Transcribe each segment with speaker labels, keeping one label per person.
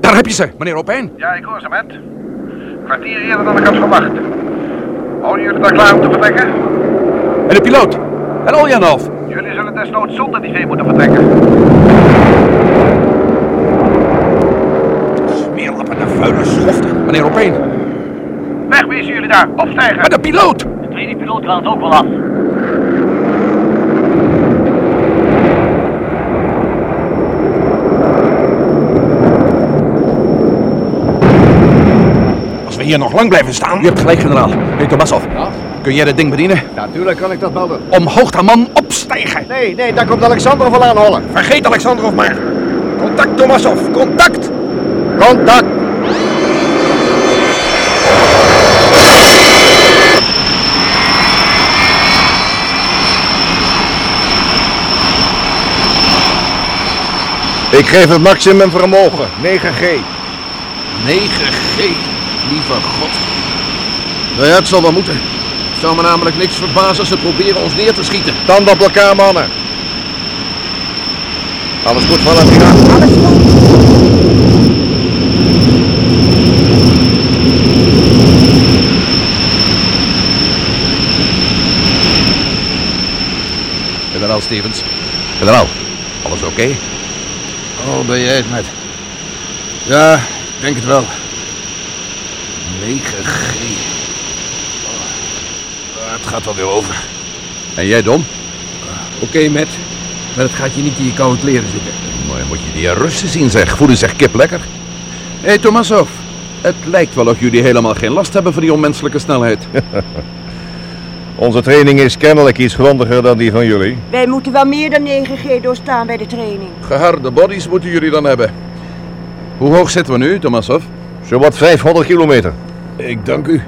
Speaker 1: Daar heb je ze, meneer Opeen.
Speaker 2: Ja, ik hoor ze, met. Kwartier eerder dan ik had verwacht. Houden jullie daar klaar om te vertrekken?
Speaker 1: En de piloot. En Oljanov.
Speaker 2: Jullie zullen desnoods zonder die vee moeten vertrekken.
Speaker 1: Smeerlappen de vuile schoften. Meneer Opeen.
Speaker 2: Wegwezen jullie daar, opstijgen!
Speaker 1: En de piloot.
Speaker 3: De tweede piloot kan het ook wel af.
Speaker 1: Als we hier nog lang blijven staan... Je hebt gelijk, generaal. Meneer Tomassov. Kun jij dat ding bedienen?
Speaker 4: Natuurlijk kan ik dat melden.
Speaker 1: Omhoog daar, man. Opstijgen.
Speaker 4: Nee, nee, daar komt Alexander van aanhollen.
Speaker 1: Vergeet Alexandrov maar. Contact, Tomassov. Contact.
Speaker 4: Contact! Ik geef het maximum vermogen, 9G.
Speaker 1: 9G. Lieve god.
Speaker 5: Nou ja, het zal wel moeten. Het zou me namelijk niks verbazen als ze proberen ons neer te schieten.
Speaker 4: Tanden op elkaar, mannen. Alles goed, Valentina?
Speaker 1: Generaal Stevens. Generaal. Alles oké?
Speaker 5: Oh, ben jij het met? Ja, ik denk het wel. 9G. Oh, het gaat wel weer over.
Speaker 1: En jij, Dom?
Speaker 6: Oké, Matt. Maar het gaat je niet in je koude kleren zitten.
Speaker 1: Mooi, moet je die Russen zien, zeg. Voelen zich kip lekker. Hé, hey, Tomassov. Het lijkt wel of jullie helemaal geen last hebben van die onmenselijke snelheid.
Speaker 4: Onze training is kennelijk iets grondiger dan die van jullie.
Speaker 7: Wij moeten wel meer dan 9G doorstaan bij de training.
Speaker 1: Geharde bodies moeten jullie dan hebben. Hoe hoog zitten we nu, Tomassov?
Speaker 4: Zowat 500 kilometer.
Speaker 5: Ik dank u.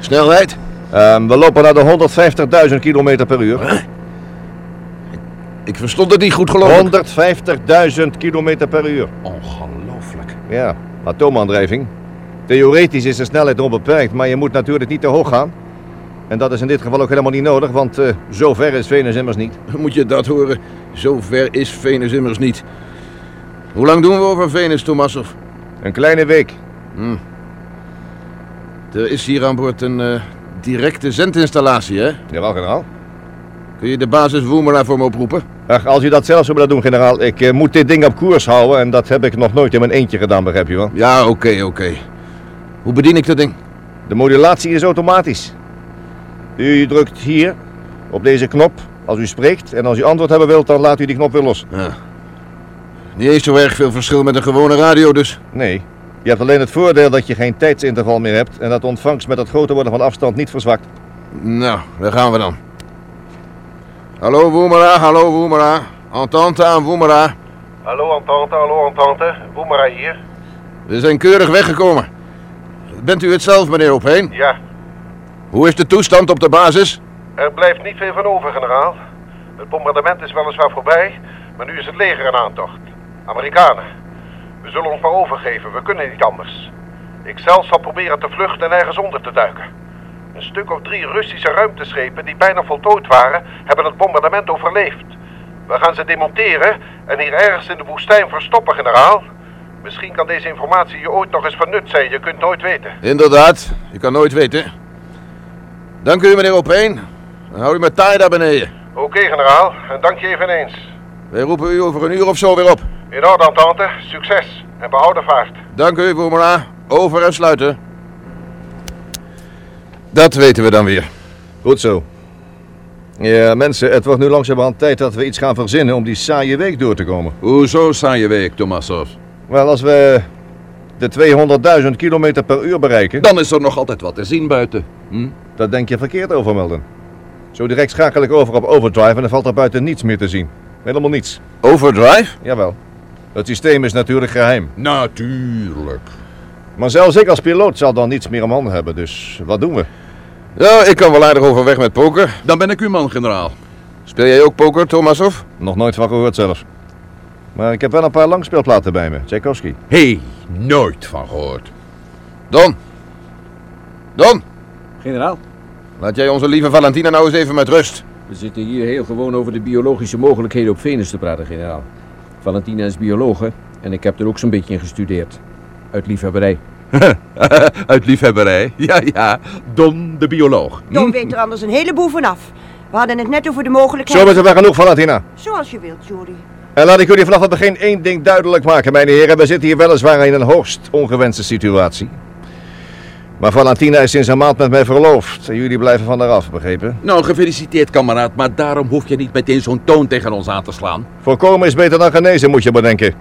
Speaker 5: Snelheid?
Speaker 4: Ehm, we lopen naar de 150.000 kilometer per uur.
Speaker 5: Ik verstond het niet goed, geloof ik.
Speaker 4: 150.000 kilometer per uur.
Speaker 1: Ongelooflijk.
Speaker 4: Ja, atoomaandrijving. Theoretisch is de snelheid onbeperkt, maar je moet natuurlijk niet te hoog gaan. En dat is in dit geval ook helemaal niet nodig, want eh, zo ver is Venus immers niet.
Speaker 5: Moet je dat horen? Zo ver is Venus immers niet. Hoe lang doen we over Venus, Tomassov?
Speaker 4: Een kleine week.
Speaker 5: Er is hier aan boord een eh, directe zendinstallatie, hè?
Speaker 4: Jawel, generaal.
Speaker 5: Kun je de basis Woemera voor me oproepen?
Speaker 4: Ach, als u dat zelf zou willen doen, generaal. Ik eh, moet dit ding op koers houden en dat heb ik nog nooit in mijn eentje gedaan, begrijp je wel.
Speaker 5: Ja, oké, oké. Hoe bedien ik dat ding?
Speaker 4: De modulatie is automatisch. U drukt hier op deze knop als u spreekt en als u antwoord hebben wilt, dan laat u die knop weer los.
Speaker 5: Niet eens zo erg veel verschil met een gewone radio, dus.
Speaker 4: Nee. Je hebt alleen het voordeel dat je geen tijdsinterval meer hebt en dat de ontvangst met het groter worden van afstand niet verzwakt.
Speaker 5: Nou, daar gaan we dan. Hallo Woemera, hallo Woemera. Entente aan Woemera.
Speaker 2: Hallo Entente, hallo Entente. Boemera hier.
Speaker 5: We zijn keurig weggekomen. Bent u het zelf, meneer Opheen?
Speaker 2: Ja,
Speaker 5: Hoe is de toestand op de basis?
Speaker 2: er blijft niet veel van over, generaal. Het bombardement is weliswaar voorbij, maar nu is het leger in aantocht. Amerikanen. We zullen ons maar overgeven, we kunnen niet anders. Ik zelf zal proberen te vluchten en ergens onder te duiken. Een stuk of drie Russische ruimteschepen die bijna voltooid waren, hebben het bombardement overleefd. We gaan ze demonteren en hier ergens in de woestijn verstoppen, generaal. Misschien kan deze informatie je ooit nog eens van nut zijn, je kunt nooit weten.
Speaker 5: Inderdaad, je kan nooit weten. Dank u, meneer Opheen. Dan hou u met taai daar beneden.
Speaker 2: Oké, generaal, en dank je eveneens.
Speaker 5: Wij roepen u over een uur of zo weer op.
Speaker 2: In orde, Entente. Succes en behouden vaart.
Speaker 5: Dank u, Boemera. Over en sluiten. Dat weten we dan weer.
Speaker 4: Goed zo. Ja, mensen, het wordt nu langzamerhand tijd dat we iets gaan verzinnen om die saaie week door te komen.
Speaker 1: Hoezo saaie week, Tomassov?
Speaker 4: Wel, als we de 200.000 kilometer per uur bereiken,
Speaker 1: Dan is er nog altijd wat te zien buiten.
Speaker 4: dat denk je verkeerd over, Melden. Zo direct schakel ik over op overdrive en dan valt er buiten niets meer te zien. Helemaal niets.
Speaker 5: Overdrive?
Speaker 4: Jawel. Het systeem is natuurlijk geheim.
Speaker 1: Natuurlijk.
Speaker 4: Maar zelfs ik als piloot zal dan niets meer om handen hebben, dus wat doen we?
Speaker 5: Ja, ik kan wel aardig overweg met poker.
Speaker 1: Dan ben ik uw man, generaal.
Speaker 5: Speel jij ook poker, Tomasov?
Speaker 4: Nog nooit van gehoord zelfs. Maar ik heb wel een paar langspeelplaten bij me. Tchaikovsky.
Speaker 1: Hé, hey, nooit van gehoord.
Speaker 5: Don. Don,
Speaker 6: Generaal,
Speaker 5: laat jij onze lieve Valentina nou eens even met rust.
Speaker 6: we zitten hier heel gewoon over de biologische mogelijkheden op Venus te praten, generaal. Valentina is biologe en ik heb er ook zo'n beetje in gestudeerd. Uit liefhebberij.
Speaker 1: Uit liefhebberij. Ja, ja. Don de bioloog. Hm?
Speaker 7: Don weet er anders een heleboel vanaf. We hadden het net over de mogelijkheid.
Speaker 4: Zo is er wel genoeg van, Athena.
Speaker 7: Zoals je wilt, Jury.
Speaker 4: En laat ik jullie vanaf het begin één ding duidelijk maken, mijn heren. We zitten hier weliswaar in een hoogst ongewenste situatie. Maar Valentina is sinds een maand met mij verloofd. En jullie blijven van haar af, begrepen?
Speaker 1: Nou, gefeliciteerd, kameraad. Maar daarom hoef je niet meteen zo'n toon tegen ons aan te slaan.
Speaker 4: Voorkomen is beter dan genezen, moet je bedenken.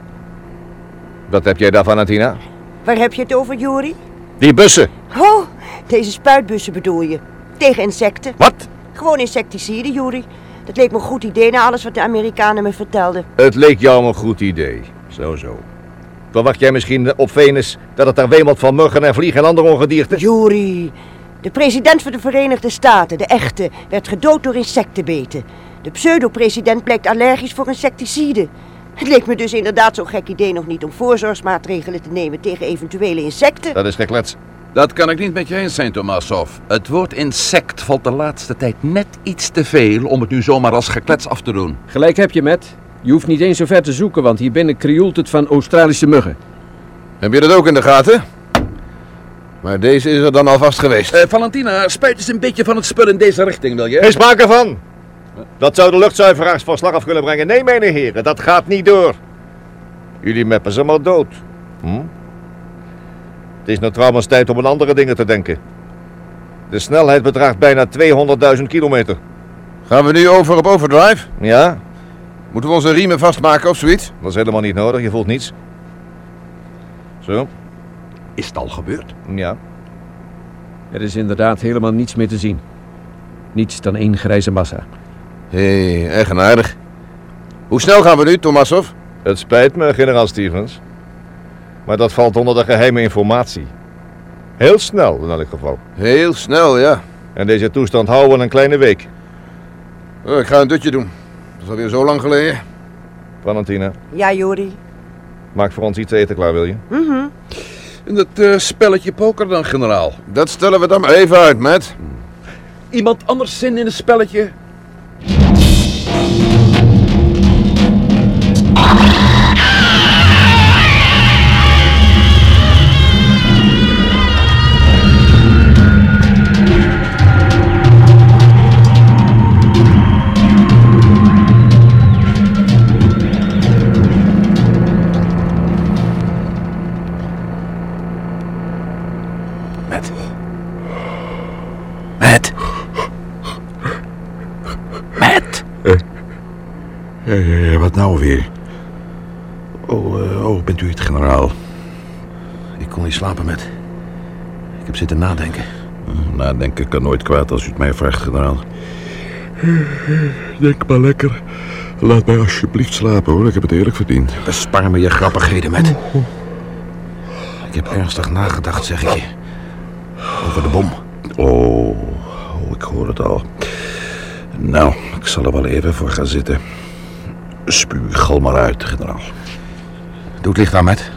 Speaker 4: Wat heb jij daar, Valentina?
Speaker 7: Waar heb je het over, Jury?
Speaker 4: Die bussen.
Speaker 7: Oh, deze spuitbussen bedoel je. Tegen insecten.
Speaker 4: Wat?
Speaker 7: Gewoon insecticide, Jury. Dat leek me een goed idee na alles wat de Amerikanen me vertelden.
Speaker 4: Het leek jou een goed idee. Zo, zo. Verwacht jij misschien op Venus dat het daar wemelt van muggen en vliegen en andere ongedierte?
Speaker 7: Jury, de president van de Verenigde Staten, de echte, werd gedood door insectenbeten. De pseudo-president blijkt allergisch voor insecticiden. Het leek me dus inderdaad zo'n gek idee nog niet om voorzorgsmaatregelen te nemen tegen eventuele insecten.
Speaker 4: Dat is geklets.
Speaker 1: Dat kan ik niet met je eens zijn, Tomassov. Het woord insect valt de laatste tijd net iets te veel om het nu zomaar als geklets af te doen.
Speaker 6: Gelijk heb je, Matt. Je hoeft niet eens zo ver te zoeken, want hier binnen krioelt het van Australische muggen.
Speaker 5: Heb je dat ook in de gaten? Maar deze is er dan alvast geweest.
Speaker 1: Eh, Valentina, spuit eens een beetje van het spul in deze richting, wil je?
Speaker 4: Geen sprake van. Dat zou de luchtzuiveraars van slag af kunnen brengen. Nee, mijn heren, dat gaat niet door. Jullie meppen ze maar dood. Hm? Het is nou trouwens tijd om aan andere dingen te denken. De snelheid bedraagt bijna 200.000 kilometer.
Speaker 5: Gaan we nu over op overdrive?
Speaker 4: Ja,
Speaker 5: Moeten we onze riemen vastmaken of zoiets?
Speaker 4: dat is helemaal niet nodig. Je voelt niets. Zo,
Speaker 1: Is het al gebeurd?
Speaker 4: ja.
Speaker 6: Er is inderdaad helemaal niets meer te zien. Niets dan één grijze massa.
Speaker 5: Hé, hey, eigenaardig. Hoe snel gaan we nu, Tomassov?
Speaker 4: Het spijt me, generaal Stevens. Maar dat valt onder de geheime informatie. Heel snel, in elk geval.
Speaker 5: Heel snel, ja.
Speaker 4: En deze toestand houden we een kleine week. Eh,
Speaker 5: Oh, ik ga een dutje doen. Dat is alweer zo lang geleden.
Speaker 4: Valentina,
Speaker 7: Ja, Jury.
Speaker 4: maak voor ons iets te eten klaar, wil je?
Speaker 1: Dat eh, spelletje poker dan, generaal.
Speaker 5: Dat stellen we dan maar even uit, Matt.
Speaker 1: Iemand anders zin in een spelletje? Matt. Matt. Matt.
Speaker 8: Eh, wat nou weer? Oh, eh, oh, bent u het, generaal?
Speaker 1: Ik kon niet slapen, Matt. Ik heb zitten nadenken.
Speaker 8: Hm, Nadenken kan nooit kwaad als u het mij vraagt, generaal. Denk maar lekker. Laat mij alsjeblieft slapen, hoor. Ik heb het eerlijk verdiend.
Speaker 1: Bespaar me je grappigheden, Matt. Ik heb ernstig nagedacht, zeg ik je. Over de bom.
Speaker 8: Oh, oh, ik hoor het al. Nou, ik zal er wel even voor gaan zitten. Spuugel maar uit, generaal.
Speaker 1: Doe het licht aan, Matt.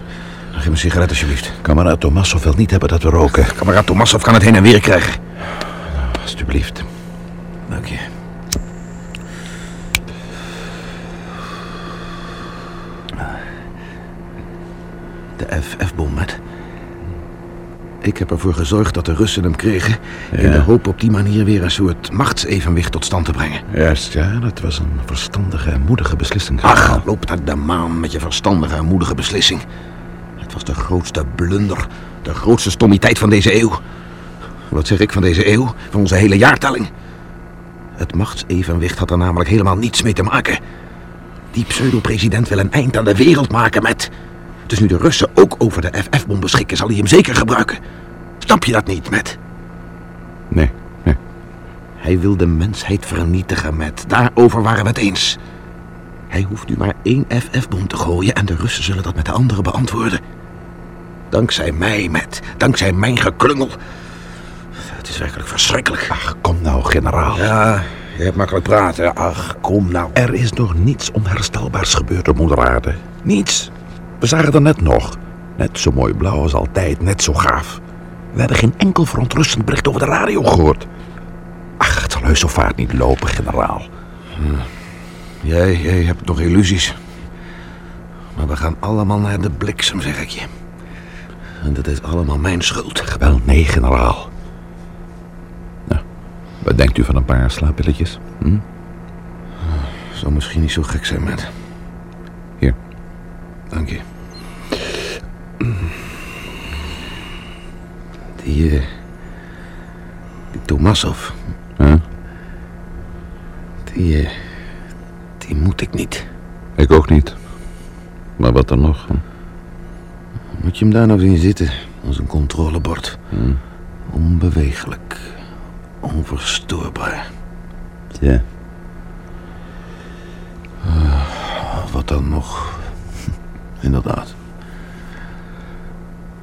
Speaker 1: Geef me een sigaret, alsjeblieft.
Speaker 8: Kameraad Tomassov wil niet hebben dat we roken.
Speaker 1: Kameraad Tomassov kan het heen en weer krijgen.
Speaker 8: Alsjeblieft.
Speaker 1: Dank je.
Speaker 8: De FF-bom, met.
Speaker 1: Ik heb ervoor gezorgd dat de Russen hem kregen... in de hoop op die manier weer een soort machtsevenwicht tot stand te brengen.
Speaker 8: Juist, ja. Dat was een verstandige en moedige beslissing.
Speaker 1: Ach, loop naar de maan met je verstandige en moedige beslissing. Het was de grootste blunder, de grootste stommiteit van deze eeuw. Wat zeg ik van deze eeuw? Van onze hele jaartelling. Het machtsevenwicht had er namelijk helemaal niets mee te maken. Die pseudo-president wil een eind aan de wereld maken met... Dus nu de Russen ook over de FF-bom beschikken, zal hij hem zeker gebruiken. Snap je dat niet, Matt?
Speaker 8: Nee, nee.
Speaker 1: Hij wil de mensheid vernietigen, Matt. Daarover waren we het eens. Hij hoeft nu maar één FF-bom te gooien en de Russen zullen dat met de anderen beantwoorden. Dankzij mij, Matt. Dankzij mijn geklungel. Het is werkelijk verschrikkelijk. Ach,
Speaker 8: Kom nou, generaal.
Speaker 1: ja, je hebt makkelijk praten. Ach, kom nou.
Speaker 8: Er is nog niets onherstelbaars gebeurd op moeder aarde.
Speaker 1: Niets.
Speaker 8: We zagen er net nog. Net zo mooi blauw als altijd, net zo gaaf. We hebben geen enkel verontrustend bericht over de radio gehoord. Ach, het zal heus zo vaart niet lopen, generaal. Hm.
Speaker 1: Jij, jij hebt nog illusies. Maar we gaan allemaal naar de bliksem, zeg ik je.
Speaker 8: En dat is allemaal mijn schuld.
Speaker 9: Wel, nee, generaal. Nou, wat denkt u van een paar slaappilletjes? Hm?
Speaker 8: Zou misschien niet zo gek zijn, Matt.
Speaker 9: Hier.
Speaker 8: Dank je. Die, eh, die Tomassov,
Speaker 9: Huh?
Speaker 8: die, eh, die moet ik niet.
Speaker 9: Ik ook niet. Maar wat dan nog?
Speaker 8: Moet je hem daar nou zien zitten, als een controlebord.
Speaker 9: Hmm.
Speaker 8: Onbewegelijk. Onverstoorbaar.
Speaker 9: Ja.
Speaker 8: Ah, Wat dan nog? Inderdaad.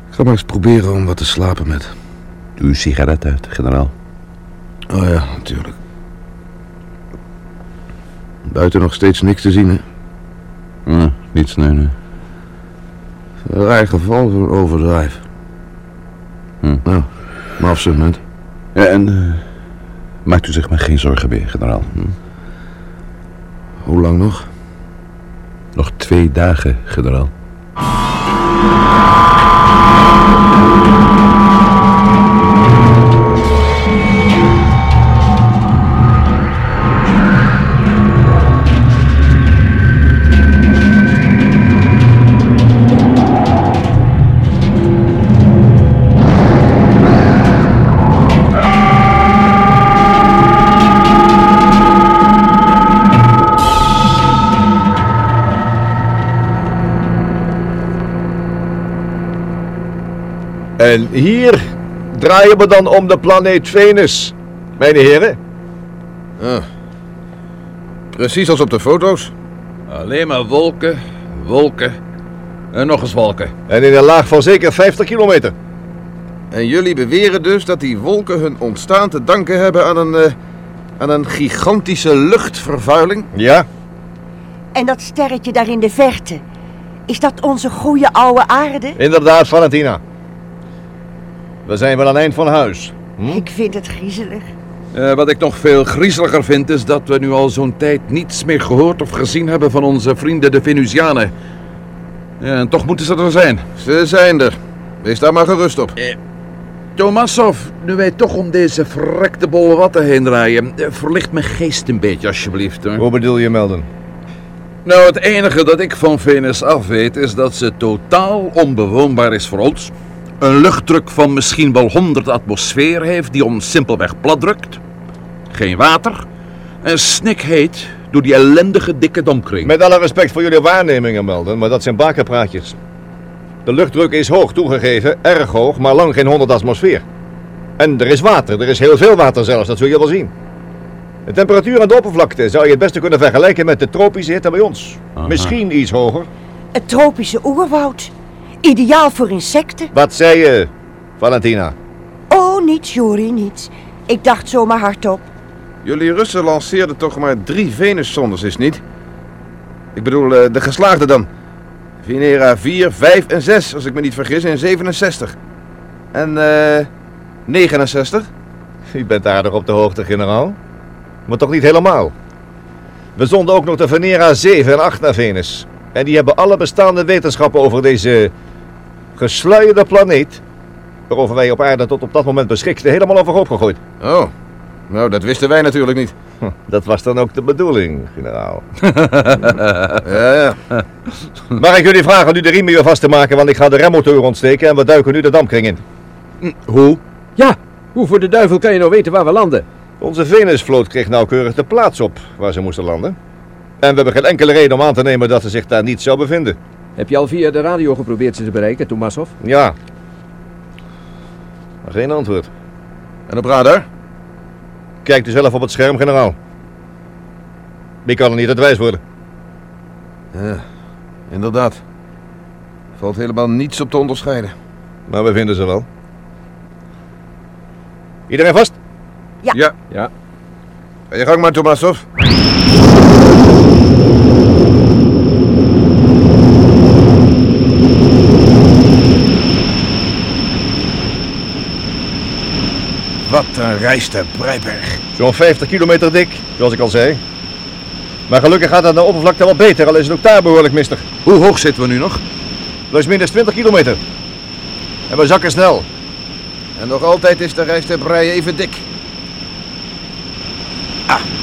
Speaker 8: Ik ga maar eens proberen om wat te slapen met.
Speaker 9: Doe uw sigaret uit, generaal.
Speaker 8: Oh ja, natuurlijk. Buiten nog steeds niks te zien, hè?
Speaker 9: Ja, niets, nee, nee.
Speaker 8: Een raar geval voor overdrijf.
Speaker 9: Hm.
Speaker 8: Nou, maar op zijn moment.
Speaker 9: Ja, en eh, maakt u zich maar geen zorgen meer, generaal.
Speaker 8: Hm. Hoe lang nog?
Speaker 9: Nog twee dagen, generaal.
Speaker 4: En hier draaien we dan om de planeet Venus, mijn heren.
Speaker 10: Precies als op de foto's.
Speaker 1: Alleen maar wolken, wolken en nog eens wolken.
Speaker 4: En in een laag van zeker 50 kilometer.
Speaker 10: En jullie beweren dus dat die wolken hun ontstaan te danken hebben aan een, eh, aan een gigantische luchtvervuiling?
Speaker 4: Ja,
Speaker 7: En dat sterretje daar in de verte. Is dat onze goede oude aarde?
Speaker 4: inderdaad, Valentina. We zijn wel aan het eind van huis.
Speaker 7: Ik vind het griezelig.
Speaker 1: Eh, wat ik nog veel griezeliger vind is dat we nu al zo'n tijd niets meer gehoord of gezien hebben van onze vrienden de Venusianen. Ja, en toch moeten ze er zijn.
Speaker 10: Ze zijn er. Wees daar maar gerust op.
Speaker 1: Tomassov, nu wij toch om deze verrekte bolle watten heen draaien, eh, verlicht mijn geest een beetje alsjeblieft. Hoor.
Speaker 4: Hoe bedoel je, Melden?
Speaker 1: Nou, het enige dat ik van Venus af weet is dat ze totaal onbewoonbaar is voor ons. Een luchtdruk van misschien wel 100 atmosfeer heeft die ons simpelweg platdrukt. Geen water. En snikheet door die ellendige dikke domkring.
Speaker 4: Met alle respect voor jullie waarnemingen, Melden, maar dat zijn bakenpraatjes. De luchtdruk is hoog toegegeven, erg hoog, maar lang geen 100 atmosfeer. En er is water, er is heel veel water zelfs, dat zul je wel zien. De temperatuur aan de oppervlakte zou je het beste kunnen vergelijken met de tropische hitte bij ons. Misschien iets hoger.
Speaker 7: Het tropische oerwoud. Ideaal voor insecten.
Speaker 4: Wat zei je, Valentina?
Speaker 7: Oh, niets, Jori, niets. Ik dacht zomaar hardop.
Speaker 10: Jullie Russen lanceerden toch maar drie Venuszondes, is het niet? Ik bedoel, eh, de geslaagde dan. Venera 4, 5 en 6, als ik me niet vergis, in 67. En eh 69?
Speaker 4: U bent aardig op de hoogte, generaal. Maar toch niet helemaal. We zonden ook nog de Venera 7 en 8 naar Venus. En die hebben alle bestaande wetenschappen over deze gesluierde planeet, waarover wij op aarde tot op dat moment beschikten, helemaal overhoop gegooid.
Speaker 10: Oh, nou dat wisten wij natuurlijk niet.
Speaker 4: Hm, Dat was dan ook de bedoeling, generaal.
Speaker 10: Ja, ja.
Speaker 4: Mag ik jullie vragen nu de riem weer vast te maken, want ik ga de remmotor ontsteken en we duiken nu de dampkring in.
Speaker 1: Hoe?
Speaker 6: Ja, hoe voor de duivel kan je nou weten waar we landen?
Speaker 4: Onze Venusvloot kreeg nauwkeurig de plaats op waar ze moesten landen. En we hebben geen enkele reden om aan te nemen dat ze zich daar niet zou bevinden.
Speaker 6: Heb je al via de radio geprobeerd ze te bereiken, Tomassov?
Speaker 4: Ja. Maar geen antwoord.
Speaker 10: En op radar?
Speaker 4: Kijkt u zelf op het scherm, generaal. Ik kan er niet uit wijs worden.
Speaker 10: Ja, inderdaad. Valt helemaal niets op te onderscheiden.
Speaker 4: Maar we vinden ze wel. Iedereen vast?
Speaker 10: Ga je gang maar, Tomassov. Wat een reis ter Breiberg.
Speaker 4: Zo'n 50 kilometer dik, zoals ik al zei. Maar gelukkig gaat het aan de oppervlakte wel beter, al is het ook daar behoorlijk mistig.
Speaker 1: Hoe hoog zitten we nu nog?
Speaker 4: Plus minus 20 kilometer. En we zakken snel.
Speaker 5: En nog altijd is de reis ter Breien even dik.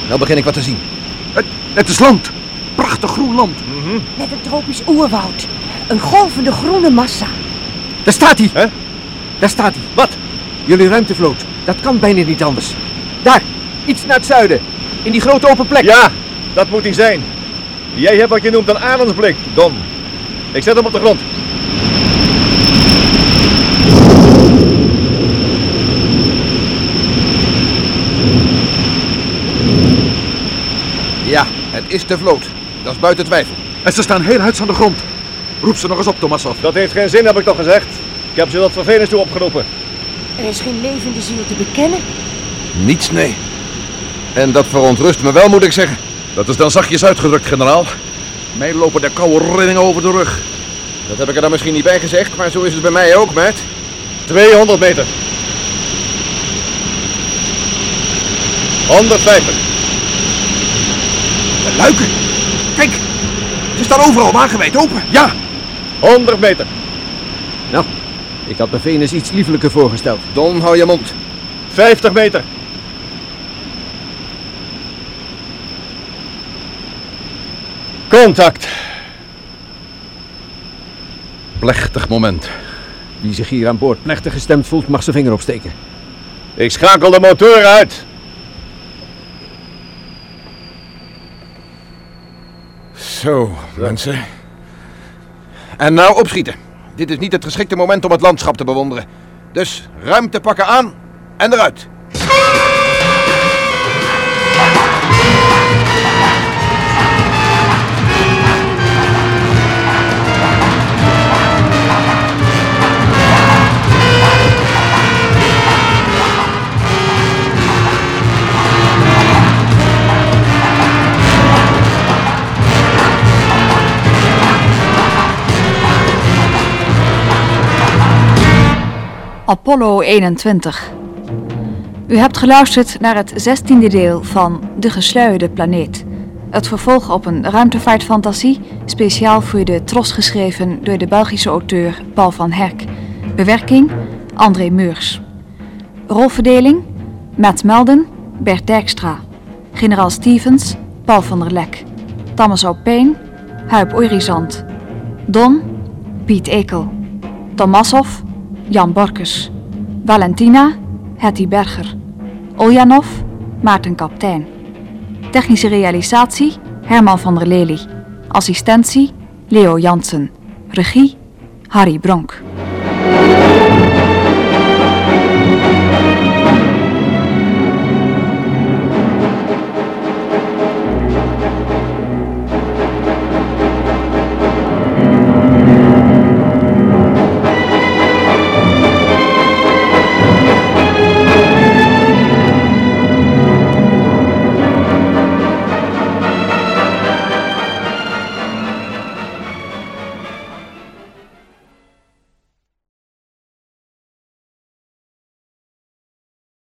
Speaker 4: Nou begin ik wat te zien.
Speaker 11: Het is land. Prachtig groen land.
Speaker 7: Met een tropisch oerwoud. Een golvende groene massa.
Speaker 6: Daar staat hij!
Speaker 4: Hè?
Speaker 6: Daar staat hij.
Speaker 4: Wat?
Speaker 6: Jullie ruimtevloot. Dat kan bijna niet anders. Daar, iets naar het zuiden. In die grote open plek.
Speaker 4: Ja, dat moet hij zijn. Jij hebt wat je noemt een arendsblik, Don. Ik zet hem op de grond.
Speaker 5: Ja, het is de vloot. Dat is buiten twijfel.
Speaker 11: En ze staan heel huids aan de grond. Roep ze nog eens op, Tomassov.
Speaker 4: Dat heeft geen zin, heb ik toch gezegd. Ik heb ze dat vervelens toe opgeroepen.
Speaker 7: Er is geen levende ziel te bekennen.
Speaker 5: Niets, nee. En dat verontrust me wel, moet ik zeggen.
Speaker 11: Dat is dan zachtjes uitgedrukt, generaal. Mij lopen de koude rillingen over de rug.
Speaker 5: Dat heb ik er dan misschien niet bij gezegd, maar zo is het bij mij ook, Matt.
Speaker 4: 200 meter. 150.
Speaker 1: De luiken! Kijk, ze staan overal wagenwijd open.
Speaker 11: Ja,
Speaker 4: 100 meter.
Speaker 6: Nou, ik had me Venus iets liefelijker voorgesteld.
Speaker 5: Don, hou je mond.
Speaker 4: 50 meter. Contact.
Speaker 11: plechtig moment.
Speaker 6: Wie zich hier aan boord plechtig gestemd voelt, mag zijn vinger opsteken.
Speaker 4: Ik schakel de motor uit.
Speaker 5: Zo, mensen. En nou opschieten. Dit is niet het geschikte moment om het landschap te bewonderen. Dus ruimte pakken aan en eruit.
Speaker 12: Apollo 21. U hebt geluisterd naar het zestiende deel van De Gesluierde Planeet. Het vervolg op een ruimtevaartfantasie, speciaal voor de Tros geschreven door de Belgische auteur Paul van Herk. Bewerking André Meurs. Rolverdeling Matt Melden, Bert Dijkstra. Generaal Stevens, Paul van der Lek. Thomas Opeen, Huib Orizant. Don, Piet Ekel. Tomassov, Jan Borkes. Valentina, Hetty Berger. Oljanov, Maarten Kaptein. Technische realisatie, Herman van der Lely. Assistentie, Leo Jansen. Regie, Harry Bronk.